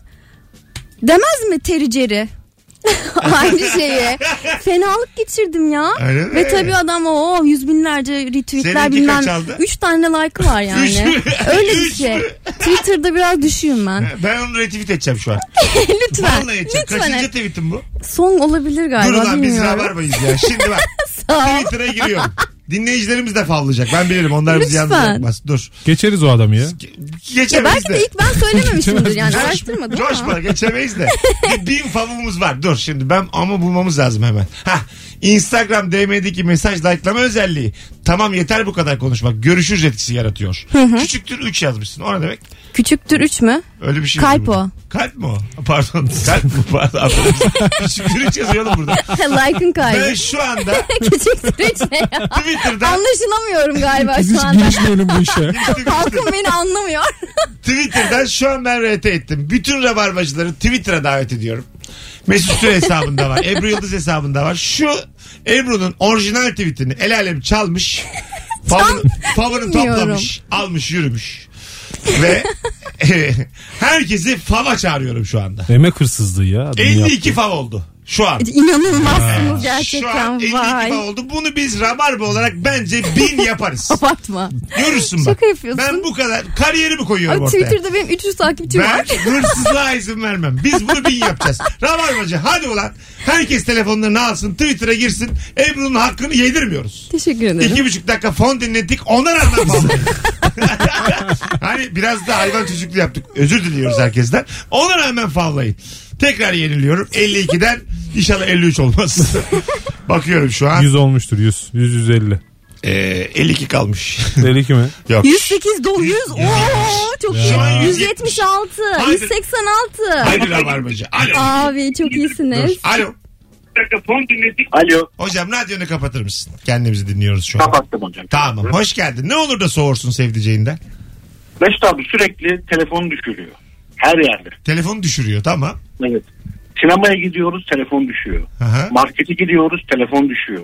Demez mi tericeri? [LAUGHS] Aynı şeyi. Fenalık geçirdim ya.
Öyle mi?
Ve tabii adam o yüz binlerce retweetler
Seninki
bilmem.
kaç aldı?
Üç tane like'ı var
[LAUGHS] Üç
yani.
mü?
Öyle bir
Üç
şey.
mü?
Twitter'da biraz düşüyüm ben.
Ben onu retweet edeceğim şu an.
lütfen.
Vallahi edeceğim.
Lütfen.
Kaçıncı tweetim bu?
Son olabilir
Dur
galiba
lan biz
bilmiyorum.
rabarbayız ya. Şimdi bak
[LAUGHS] Sağ ol.
Twitter'a giriyorum. Dinleyicilerimiz de favlayacak. Ben bilirim onlar bizi yalnız
Lütfen.
bırakmaz. Dur.
Geçeriz o adamı ya.
Ge-
Ya
Geçemeyiz
belki de ilk ben söylememişimdir yani
Coş-
araştırmadım ama.
Coşma geçemeyiz de.
[LAUGHS]
Bir bin favumuz var. Dur şimdi ben ama bulmamız lazım hemen. Hah. Instagram DM'deki mesaj likelama özelliği. Tamam yeter bu kadar konuşmak. Görüşürüz etkisi yaratıyor. Küçüktür 3 yazmışsın. O ne demek?
Küçüktür
[LAUGHS]
üç mü?
Öyle bir şey.
Kalp
yazıyor burada. Kalp mi o? Pardon. Kalp mi? [LAUGHS] Pardon. Affedersin. Küçüktür 3 yazıyor oğlum burada.
Like'ın
Ben
kaybı.
şu anda
[LAUGHS] Küçüktür üç ne ya?
Twitter'da
[LAUGHS] Anlaşılamıyorum galiba
Biz
şu
hiç
anda.
girişmeyelim bu işe.
[LAUGHS]
Halkım beni anlamıyor. [LAUGHS]
Twitter'dan şu an ben RT ettim. Bütün rabarbacıları Twitter'a davet ediyorum. Mesut Süre hesabında var. Ebru Yıldız hesabında var. Şu Ebru'nun orijinal tweetini el alem çalmış. Favını, favını
bilmiyorum.
toplamış. Almış yürümüş. Ve [LAUGHS] herkesi fava çağırıyorum şu anda.
Emek hırsızlığı ya. adamın yaptığı.
52 fav oldu. Şu an.
İnanılmazsınız
Şu an
gerçekten
52
vay.
fav oldu. Bunu biz rabarba olarak bence bin
[LAUGHS]
yaparız.
Abartma.
Görürsün bak.
Şaka yapıyorsun.
Ben bu kadar kariyerimi koyuyorum
Abi
ortaya.
Twitter'da benim 300 takipçim
Ben
var. [LAUGHS]
hırsızlığa izin vermem. Biz bunu bin yapacağız. Rabarbacı hadi ulan. Herkes telefonlarını alsın. Twitter'a girsin. Ebru'nun hakkını yedirmiyoruz.
Teşekkür ederim.
İki buçuk dakika fon dinlettik. Ona rağmen fon. [LAUGHS] hani biraz da hayvan çocuklu yaptık. Özür diliyoruz herkesten. Ona rağmen favlayın. Tekrar yeniliyorum. 52'den inşallah 53 olmaz. [LAUGHS] Bakıyorum şu an.
100 olmuştur 100. 100 150.
Ee, 52
[LAUGHS]
kalmış.
Deli ki mi?
Yok.
108 doluyuz. Oo çok
Şu an
iyi.
176.
176,
Haydi.
186.
Hadi rabarbacı. Alo.
Abi çok
Dur.
iyisiniz.
Alo.
Alo.
Hocam radyonu kapatır mısın? Kendimizi dinliyoruz şu an.
Kapattım hocam.
Tamam. Hoş geldin. Ne olur da soğursun sevdiceğinden.
Mesut abi sürekli telefonu düşürüyor. Her yerde.
Telefonu düşürüyor tamam.
Evet. Sinemaya gidiyoruz telefon düşüyor.
Aha.
Markete gidiyoruz telefon düşüyor.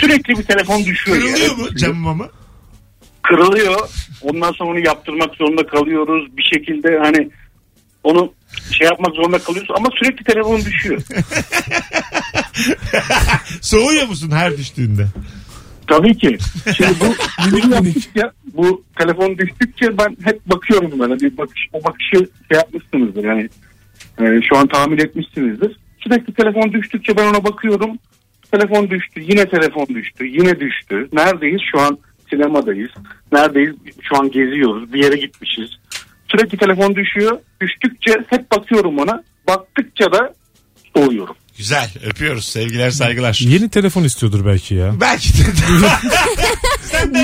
Sürekli bir telefon düşüyor.
Kırılıyor
yani.
mu camıma mı?
Kırılıyor. Ondan sonra onu yaptırmak zorunda kalıyoruz. Bir şekilde hani onu şey yapmak zorunda kalıyoruz ama sürekli telefon düşüyor.
Soğuyor musun her düştüğünde?
Tabii ki. Şimdi bu bunu yaptıkça, bu telefon düştükçe ben hep bakıyorum böyle bir bakış o bakışı şey yapmışsınızdır yani e, şu an tahmin etmişsinizdir. Sürekli telefon düştükçe ben ona bakıyorum. Telefon düştü, yine telefon düştü, yine düştü. Neredeyiz? Şu an sinemadayız. Neredeyiz? Şu an geziyoruz. Bir yere gitmişiz. Sürekli telefon düşüyor. Düştükçe hep bakıyorum ona. Baktıkça da soğuyorum.
Güzel. Öpüyoruz. Sevgiler saygılar.
Yeni telefon istiyordur belki ya.
Belki
[LAUGHS]
de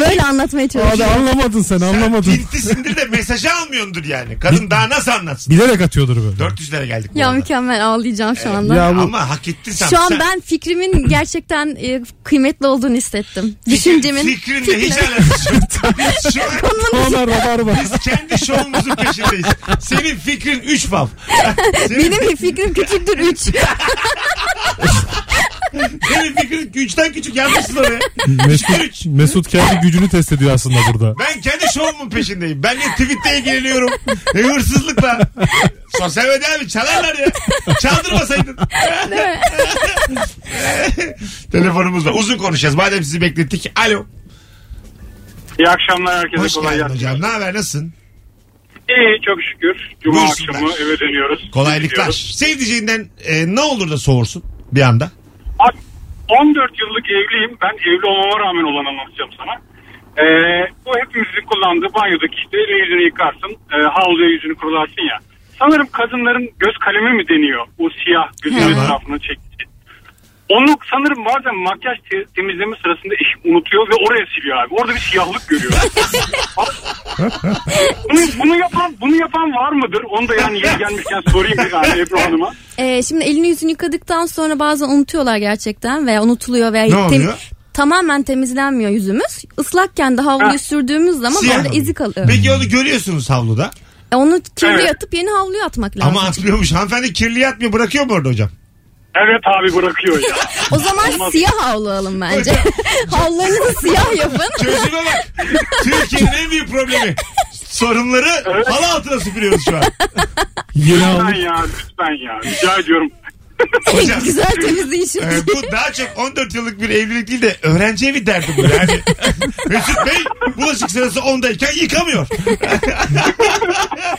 Böyle anlatmaya
Abi
çalışıyorum.
anlamadın sen anlamadın.
Pintisindir de mesajı almıyordur yani. Kadın daha nasıl anlatsın?
Bilerek atıyordur böyle.
400'lere geldik bu
Ya
arada.
mükemmel ağlayacağım şu anda.
Ya bu
Ama hak ettin sen.
Şu an
Sen-
ben fikrimin [CLEARS THROAT] gerçekten e, kıymetli olduğunu hissettim. Düşüncemin.
Fikrinle hiç alakası yok. Şu
[LAUGHS]
an [LAUGHS]
tamamen rabarba.
biz kendi şovumuzun peşindeyiz. Senin fikrin 3 fav. Senin,
Benim fikrim
[LAUGHS]
küçüktür 3.
senin fikrin 3'ten küçük yanlışsın oraya.
Mesut, Mesut kendi gücünü test ediyor aslında burada.
Ben kendi şovumun peşindeyim. Ben de tweetle ilgileniyorum. E, hırsızlıkla. Sosyal medya abi çalarlar ya. Çaldırmasaydın. Telefonumuz var. Uzun konuşacağız. Madem sizi beklettik. Alo.
İyi akşamlar herkese
Hoş geldin hocam. Ne haber? Nasılsın?
İyi Ee, çok şükür. Cuma
Buyursunlar.
akşamı eve dönüyoruz.
Kolaylıklar.
Gidiyoruz.
Sevdiceğinden e, ne olur da soğursun bir anda.
Abi, 14 yıllık evliyim. Ben evli olmama rağmen olan anlatacağım sana. Ee, bu hepimizin kullandığı banyodaki işte eli yüzünü yıkarsın. E, havluya yüzünü kurularsın ya. Sanırım kadınların göz kalemi mi deniyor? O siyah gözün
Hı.
etrafını çekti. Onu sanırım bazen makyaj te- temizleme sırasında eşim unutuyor ve oraya siliyor abi. Orada bir siyahlık görüyor. bunu, bunu yapan bunu yapan var mıdır? Onu da yani yeni gelmişken sorayım bir tane Ebru Hanım'a.
Ee, şimdi elini yüzünü yıkadıktan sonra bazen unutuyorlar gerçekten veya unutuluyor veya
Ne oluyor?
tamamen temizlenmiyor yüzümüz. Islakken de
Ha.
havluyu sürdüğümüz zaman
Siyah
orada
mı?
izi kalıyor.
Peki onu görüyorsunuz havluda.
E, onu kirli
Evet.
atıp yeni havluya atmak lazım.
Ama atmıyormuş. Hanımefendi kirli atmıyor. Bırakıyor mu orada hocam?
Evet abi bırakıyor ya.
o zaman siyah havlu alın bence. [LAUGHS] Havlularınızı siyah yapın.
Çözüme bak.
[LAUGHS]
Türkiye'nin en büyük problemi. Sorunları halı altına süpürüyoruz şu an.
Yeni
Lütfen
aldık.
ya lütfen ya rica ediyorum.
Hocam.
[LAUGHS] Güzel temizleyin şimdi.
Ee, bu daha çok 14 yıllık bir evlilik değil de öğrenci evi derdi bu
[LAUGHS]
yani. Mesut Bey bulaşık sırası 10'dayken yıkamıyor.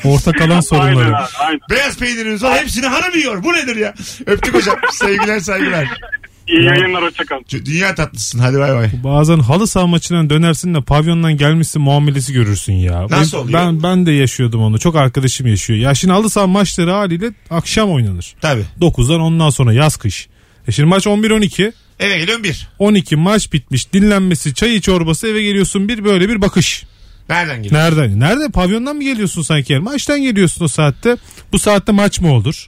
Orta kalan
Aynen
sorunları.
abi aynen.
Beyaz peynirimiz var hepsini hanım yiyor. Bu nedir ya? Öptük hocam. Sevgiler saygılar.
İyi yayınlar hoşçakalın.
Ç- Dünya tatlısın hadi bay bay.
Bazen halı saha maçından dönersin de pavyondan gelmişsin muamelesi görürsün ya.
Nasıl
Ben-
oluyor?
Ben, ben de yaşıyordum onu. Çok arkadaşım yaşıyor. Ya şimdi halı saha maçları haliyle akşam oynanır.
Tabii.
9'dan ondan sonra yaz kış. E şimdi maç 11-12.
Eve geliyorum bir.
12 maç bitmiş. Dinlenmesi, çayı çorbası eve geliyorsun bir böyle bir bakış.
Nereden geliyor?
Nereden? Nerede? Pavyondan mı geliyorsun sanki? yani? Maçtan geliyorsun o saatte. Bu saatte maç mı olur?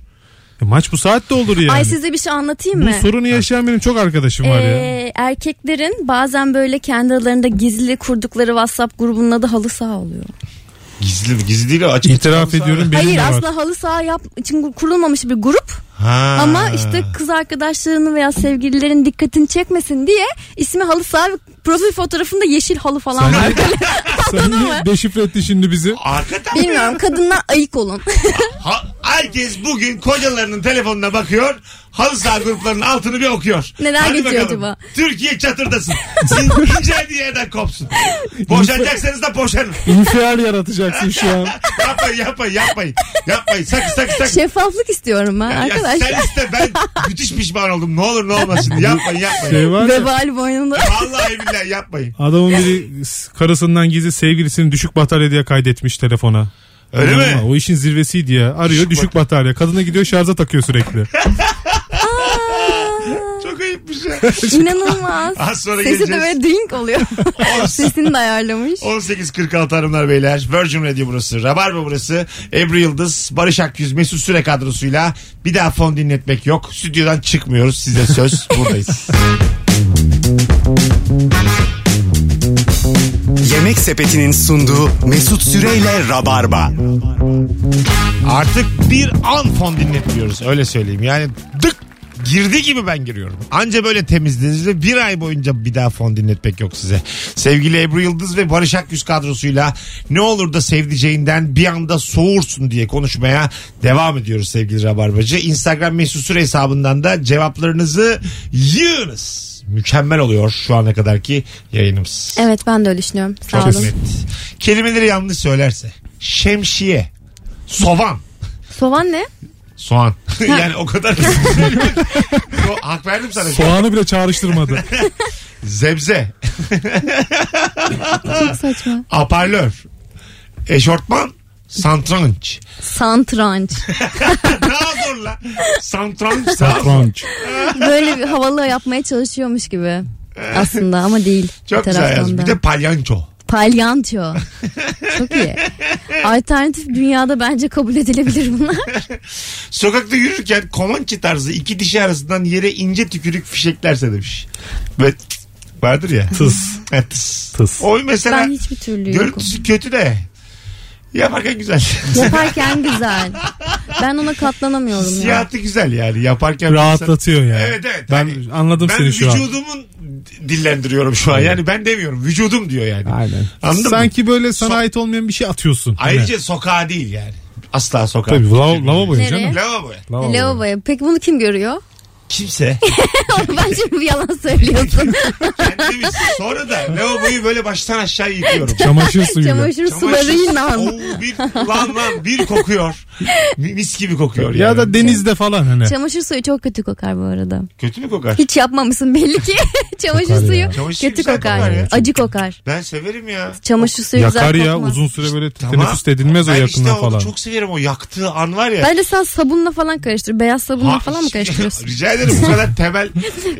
E maç bu saatte olur yani.
Ay size bir şey anlatayım
bu
mı?
sorunu yaşayan benim çok arkadaşım var ya.
Ee, erkeklerin bazen böyle kendi aralarında gizli kurdukları WhatsApp grubunun adı halı saha oluyor.
Gizli mi? Gizli değil o açık.
İtiraf ediyorum benim
Hayır
de var.
aslında halı saha yap için kurulmamış bir grup
Ha.
ama işte kız arkadaşlarının veya sevgililerin dikkatini çekmesin diye ismi halı saha ve profil fotoğrafında yeşil halı falan
Sen
var. [LAUGHS]
niye, sen niye deşifre etti şimdi bizi?
Arka taraf.
Bilmiyorum kadınlar ayık
[LAUGHS]
olun. [LAUGHS]
Ha- herkes bugün kocalarının telefonuna bakıyor. Halı saha gruplarının altını bir okuyor.
Neler geçiyor acaba?
Türkiye
[LAUGHS]
çatırdasın. Siz incelediği yerden kopsun. Boşanacaksanız da boşanın.
İnfial yaratacaksın şu an.
Yapmayın yapmayın yapmayın. Yapmayın sakın sakın sakın.
Şey, Şeffaflık istiyorum ben
Ya
arkadaşlar.
sen iste ben müthiş pişman oldum. Ne olur ne olmaz şimdi. Yapmayın yapmayın.
Şey var ya,
Vebal boynunda.
Vallahi billahi yapmayın.
adamın biri s- karısından gizli sevgilisini düşük batarya diye kaydetmiş telefona.
Öyle
Anladın
mi?
mı? O işin zirvesiydi ya. Arıyor düşük, batarya. Kadına gidiyor şarja
[LAUGHS]
takıyor sürekli.
Çok ayıpmış ya.
İnanılmaz.
Az sonra
Sesi de
geleceğiz.
böyle drink oluyor. Sesini de ayarlamış.
18.46 hanımlar beyler. Virgin Radio burası. Rabarba burası. Ebru Yıldız, Barış Akyüz, Mesut Süre kadrosuyla bir daha fon dinletmek yok. Stüdyodan çıkmıyoruz. Size söz buradayız.
Yemek Sepeti'nin sunduğu Mesut Süreyle Rabarba.
Artık bir an fon dinletmiyoruz. Öyle söyleyeyim. Yani dık girdi gibi ben giriyorum. Anca böyle temizliğinizde bir ay boyunca bir daha fon dinletmek yok size. Sevgili Ebru Yıldız ve Barış Akyüz kadrosuyla ne olur da sevdiceğinden bir anda soğursun diye konuşmaya devam ediyoruz sevgili Rabarbacı. Instagram mesut süre hesabından da cevaplarınızı yığınız. Mükemmel oluyor şu ana kadarki yayınımız.
Evet ben de öyle düşünüyorum. Sağ
Çok
olun.
net. Kelimeleri yanlış söylerse. Şemsiye. Sovan.
Soğan ne?
[LAUGHS]
Soğan. [LAUGHS] yani o kadar ki. Yo, Hak verdim sana.
Soğanı bile
[LAUGHS]
çağrıştırmadı.
Zebze.
Çok saçma.
Aparlör. Eşortman. Santranç. [LAUGHS]
Santranç.
Daha zor la. Santranç. daha zor.
Satranç.
Böyle bir havalı yapmaya çalışıyormuş gibi. Aslında ama değil.
[LAUGHS] Çok
bir
güzel
taraftan
yaz.
da.
Bir de palyanço.
Palyanço. Çok iyi. Alternatif dünyada bence kabul edilebilir bunlar.
Sokakta yürürken Komançı tarzı iki dişi arasından yere ince tükürük fişeklerse demiş. Ve vardır ya. Tıs. Ha, tıs.
Tıs.
Oy mesela
Ben hiçbir türlü yokum.
görüntüsü kötü de yaparken güzel.
Yaparken güzel. Ben ona katlanamıyorum ya.
Siyahati güzel yani yaparken
Rahatlatıyor yani.
Evet, evet.
Ben
Hani
anladım
ben
seni şu an.
vücudumun dillendiriyorum şu an. Yani ben demiyorum. Vücudum diyor yani. Anladın mı?
Sanki böyle sana
So-
ait olmayan bir şey atıyorsun.
Ayrıca sokağa değil yani. Asla sokağa.
Hani. Tabii la- lavaboya
Nereye?
canım.
Lavaboya.
Lavaboya. Peki bunu kim görüyor? [LAUGHS]
kimse
Bence bir yalan söylüyorsun.
kendimiz sonra da lavaboyu böyle baştan aşağı yıkıyorum.
[LAUGHS]
Çamaşır
[LAUGHS]
suyuyla.
Çamaşır
Çamaşır-
sularıyla.
Oo, bir, lan lan bir kokuyor. Mis gibi kokuyor.
Ya
yani.
da denizde falan hani.
Çamaşır suyu çok kötü kokar bu arada.
Kötü mü kokar?
Hiç yapmamışsın belli ki. [LAUGHS] Çamaşır
Kokar
suyu
ya.
Çamaşır
kötü
güzel
kokar.
kokar ya.
Acı kokar.
Ben severim ya.
Çamaşır suyu
Yakar
güzel
ya
kokmaz.
uzun süre böyle
Tamam.
teneffüs edilmez o
Ben
yakından
işte onu
falan.
çok severim o yaktığı an var ya.
Bence sen sabunla falan karıştır. Beyaz sabunla
Ha, [LAUGHS] şey
falan mı karıştırıyorsun?
Rica ederim bu kadar temel.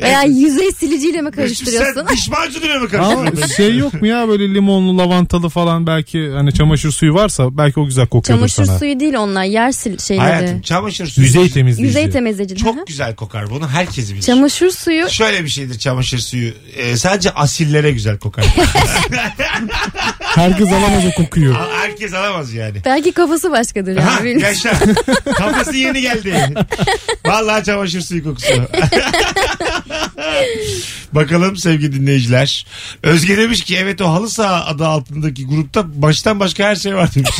Veya yüzey siliciyle mi
Sen
[LAUGHS] karıştırıyorsun?
diş macunuyla mı karıştırıyorsun? [LAUGHS]
Ama şey yok mu ya böyle limonlu lavantalı falan belki hani çamaşır suyu varsa belki o güzel kokuyordur
Çamaşır
sana.
suyu değil onlar. Yer sil şeyleri.
Hayatım çamaşır suyu.
Yüzey temizleyici.
Yüzey temizleyici. Hı hı.
Çok güzel kokar bunu herkes bilir.
Çamaşır suyu
Şöyle bir şeydir çamaşır suyu. Ee, sadece asillere güzel
[LAUGHS]
kokar.
Herkes alamaz o kokuyu.
A- Herkes alamaz yani.
belki kafası başkadır
Ha,
yani. bilmiyorum.
yaşa. Kafası yeni
[LAUGHS]
geldi. Vallahi çamaşır suyu kokusu. [LAUGHS] Bakalım sevgili dinleyiciler. Özge demiş ki evet o halı saha adı altındaki grupta baştan başka her şey var demiş.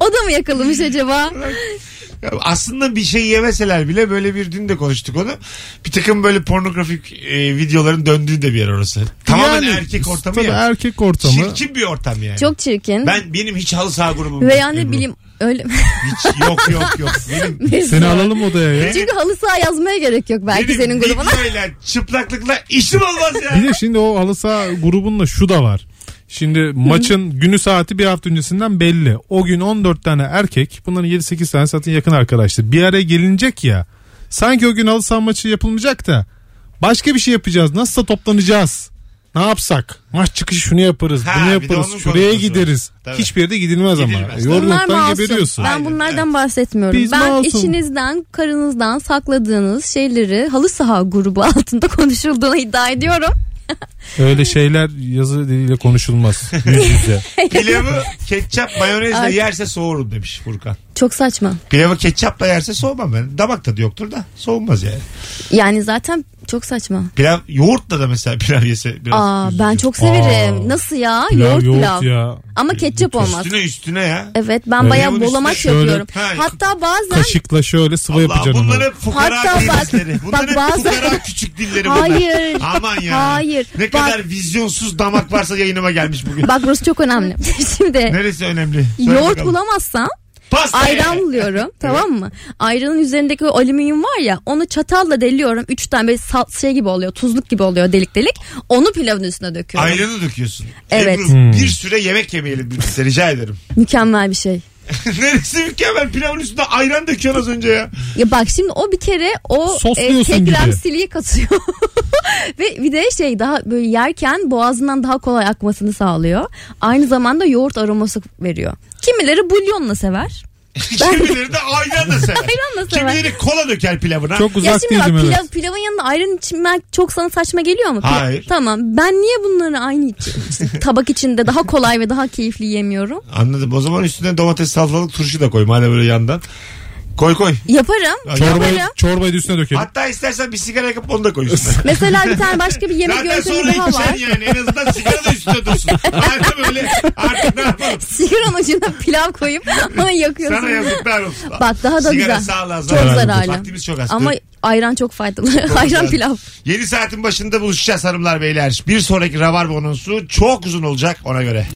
O da mı yakalamış acaba?
Ya Aslında bir şey yemeseler bile böyle bir dün de konuştuk onu. Bir takım böyle pornografik e, videoların döndüğü de bir yer orası. Tamamen
Yani,
erkek ortamı
tabii
ya.
erkek ortamı.
Çirkin bir ortam yani.
Çok çirkin.
Ben benim hiç halı saha grubum
Ve
yok
yani
Ebru.
bileyim öyle [LAUGHS]
Hiç yok yok yok. Benim
Seni alalım odaya ya.
Çünkü halı saha yazmaya gerek yok belki
benim
senin grubuna.
videoyla, çıplaklıkla işim olmaz ya.
Bir de şimdi o halı saha grubunda şu da var. Şimdi
[LAUGHS]
maçın günü saati bir hafta öncesinden belli. O gün 14 tane erkek bunların 7-8 tane zaten yakın arkadaştı. Bir araya gelinecek ya. Sanki o gün halı saha maçı yapılmayacak da başka bir şey yapacağız. Nasılsa toplanacağız. Ne yapsak? Maç çıkışı şunu yaparız,
Ha,
bunu
bir de
yaparız,
onun
şuraya
konusu var.
gideriz.
Tabii.
Hiçbir yerde gidilmez,
Gidilmez.
ama.
Bunlar
Yorgunluktan
masum.
geberiyorsun.
Ben
Aynen,
bunlardan
evet.
bahsetmiyorum.
Biz
ben
masum.
işinizden, karınızdan sakladığınız şeyleri halı saha grubu [LAUGHS] altında konuşulduğunu iddia ediyorum.
Öyle şeyler yazı
[LAUGHS]
diliyle konuşulmaz. Yüz
[LAUGHS]
yüze.
Pilavı ketçap mayonezle
Ay.
yerse soğurum demiş Furkan.
Çok saçma.
Pilavı ketçapla yerse soğumam ben. Damak tadı yoktur da soğumaz yani.
Yani zaten çok saçma.
Pilav yoğurtla da mesela pilav yese biraz
Aa
üzülürüm.
ben çok severim.
Aa.
Nasıl ya?
Pilav,
yoğurt,
yoğurt
pilav.
ya. Ee,
Ama ketçap olmaz.
Üstüne üstüne ya.
Evet ben bayağı
Pilavın
bolamaç
üstüne
şöyle-
yapıyorum.
Ha,
Hatta bazen
Kaşıkla şöyle sıvı
Allah
yapacaksın onu.
bunlar hep fukara
Hatta bak-
kıymetleri. Bunlar
bak
hep
bazı- [LAUGHS]
fukara küçük dilleri bunlar.
Hayır.
Aman ya.
Hayır.
Ne
Bak-
kadar vizyonsuz damak varsa yayınıma gelmiş bugün.
Bak burası çok önemli. [LAUGHS] Şimdi
Neresi önemli? Söyle
yoğurt
bakalım.
bulamazsam
Pasta ye.
ayran
[LAUGHS]
buluyorum tamam mı? Ayranın üzerindeki o alüminyum var ya onu çatalla deliyorum. Üç tane böyle sal, şey gibi oluyor tuzluk gibi oluyor delik delik. Onu pilavın üstüne döküyorum.
Ayranı döküyorsun.
Evet.
Ebru, bir süre yemek yemeyelim birlikte rica ederim. [LAUGHS]
Mükemmel bir şey.
Neresi mükemmel pilavın üstünde ayran döküyorsun az önce ya.
Ya bak şimdi o bir kere o e,
Sosluyorsun gibi.
kekremsiliği katıyor. [LAUGHS] Ve bir de şey daha böyle yerken boğazından daha kolay akmasını sağlıyor. Aynı zamanda yoğurt aroması veriyor. Kimileri bulyonla sever.
Kimileri de ayran
[LAUGHS]
da sever.
Ayranla sever.
Kimileri kola döker pilavına.
Çok
Ya
uzak
şimdi
değildim
bak
evet.
pilav, pilavın yanında ayran içmek çok sana saçma geliyor mu? Pilav-
Hayır.
Tamam ben niye bunları aynı iç-
[LAUGHS]
tabak içinde daha kolay ve daha keyifli yemiyorum?
Anladım. O zaman üstüne domates salatalık turşu da koy madem böyle yandan. Koy koy.
Yaparım.
Çorbayı,
Yaparım.
çorbayı da üstüne dökelim.
Hatta istersen bir sigara yakıp onu da koy üstüne.
Mesela bir tane başka bir yemek
Zaten
yöntemi
sonra şey
daha
içeceksin
var.
yani. En azından sigara da üstüne
[LAUGHS]
dursun. Madem öyle artık ne yapalım?
Sigaranın ucuna pilav koyup [LAUGHS] ona yakıyorsun.
Sana yazıklar olsun.
Bak daha da
sigara
güzel.
sağlığa
Çok
zararlı.
zararlı.
Vaktimiz çok az.
Ama
Dur.
ayran çok faydalı. [LAUGHS] ayran
güzel.
pilav.
Yeni saatin başında buluşacağız hanımlar beyler. Bir sonraki Rabarba anonsu çok uzun olacak ona göre.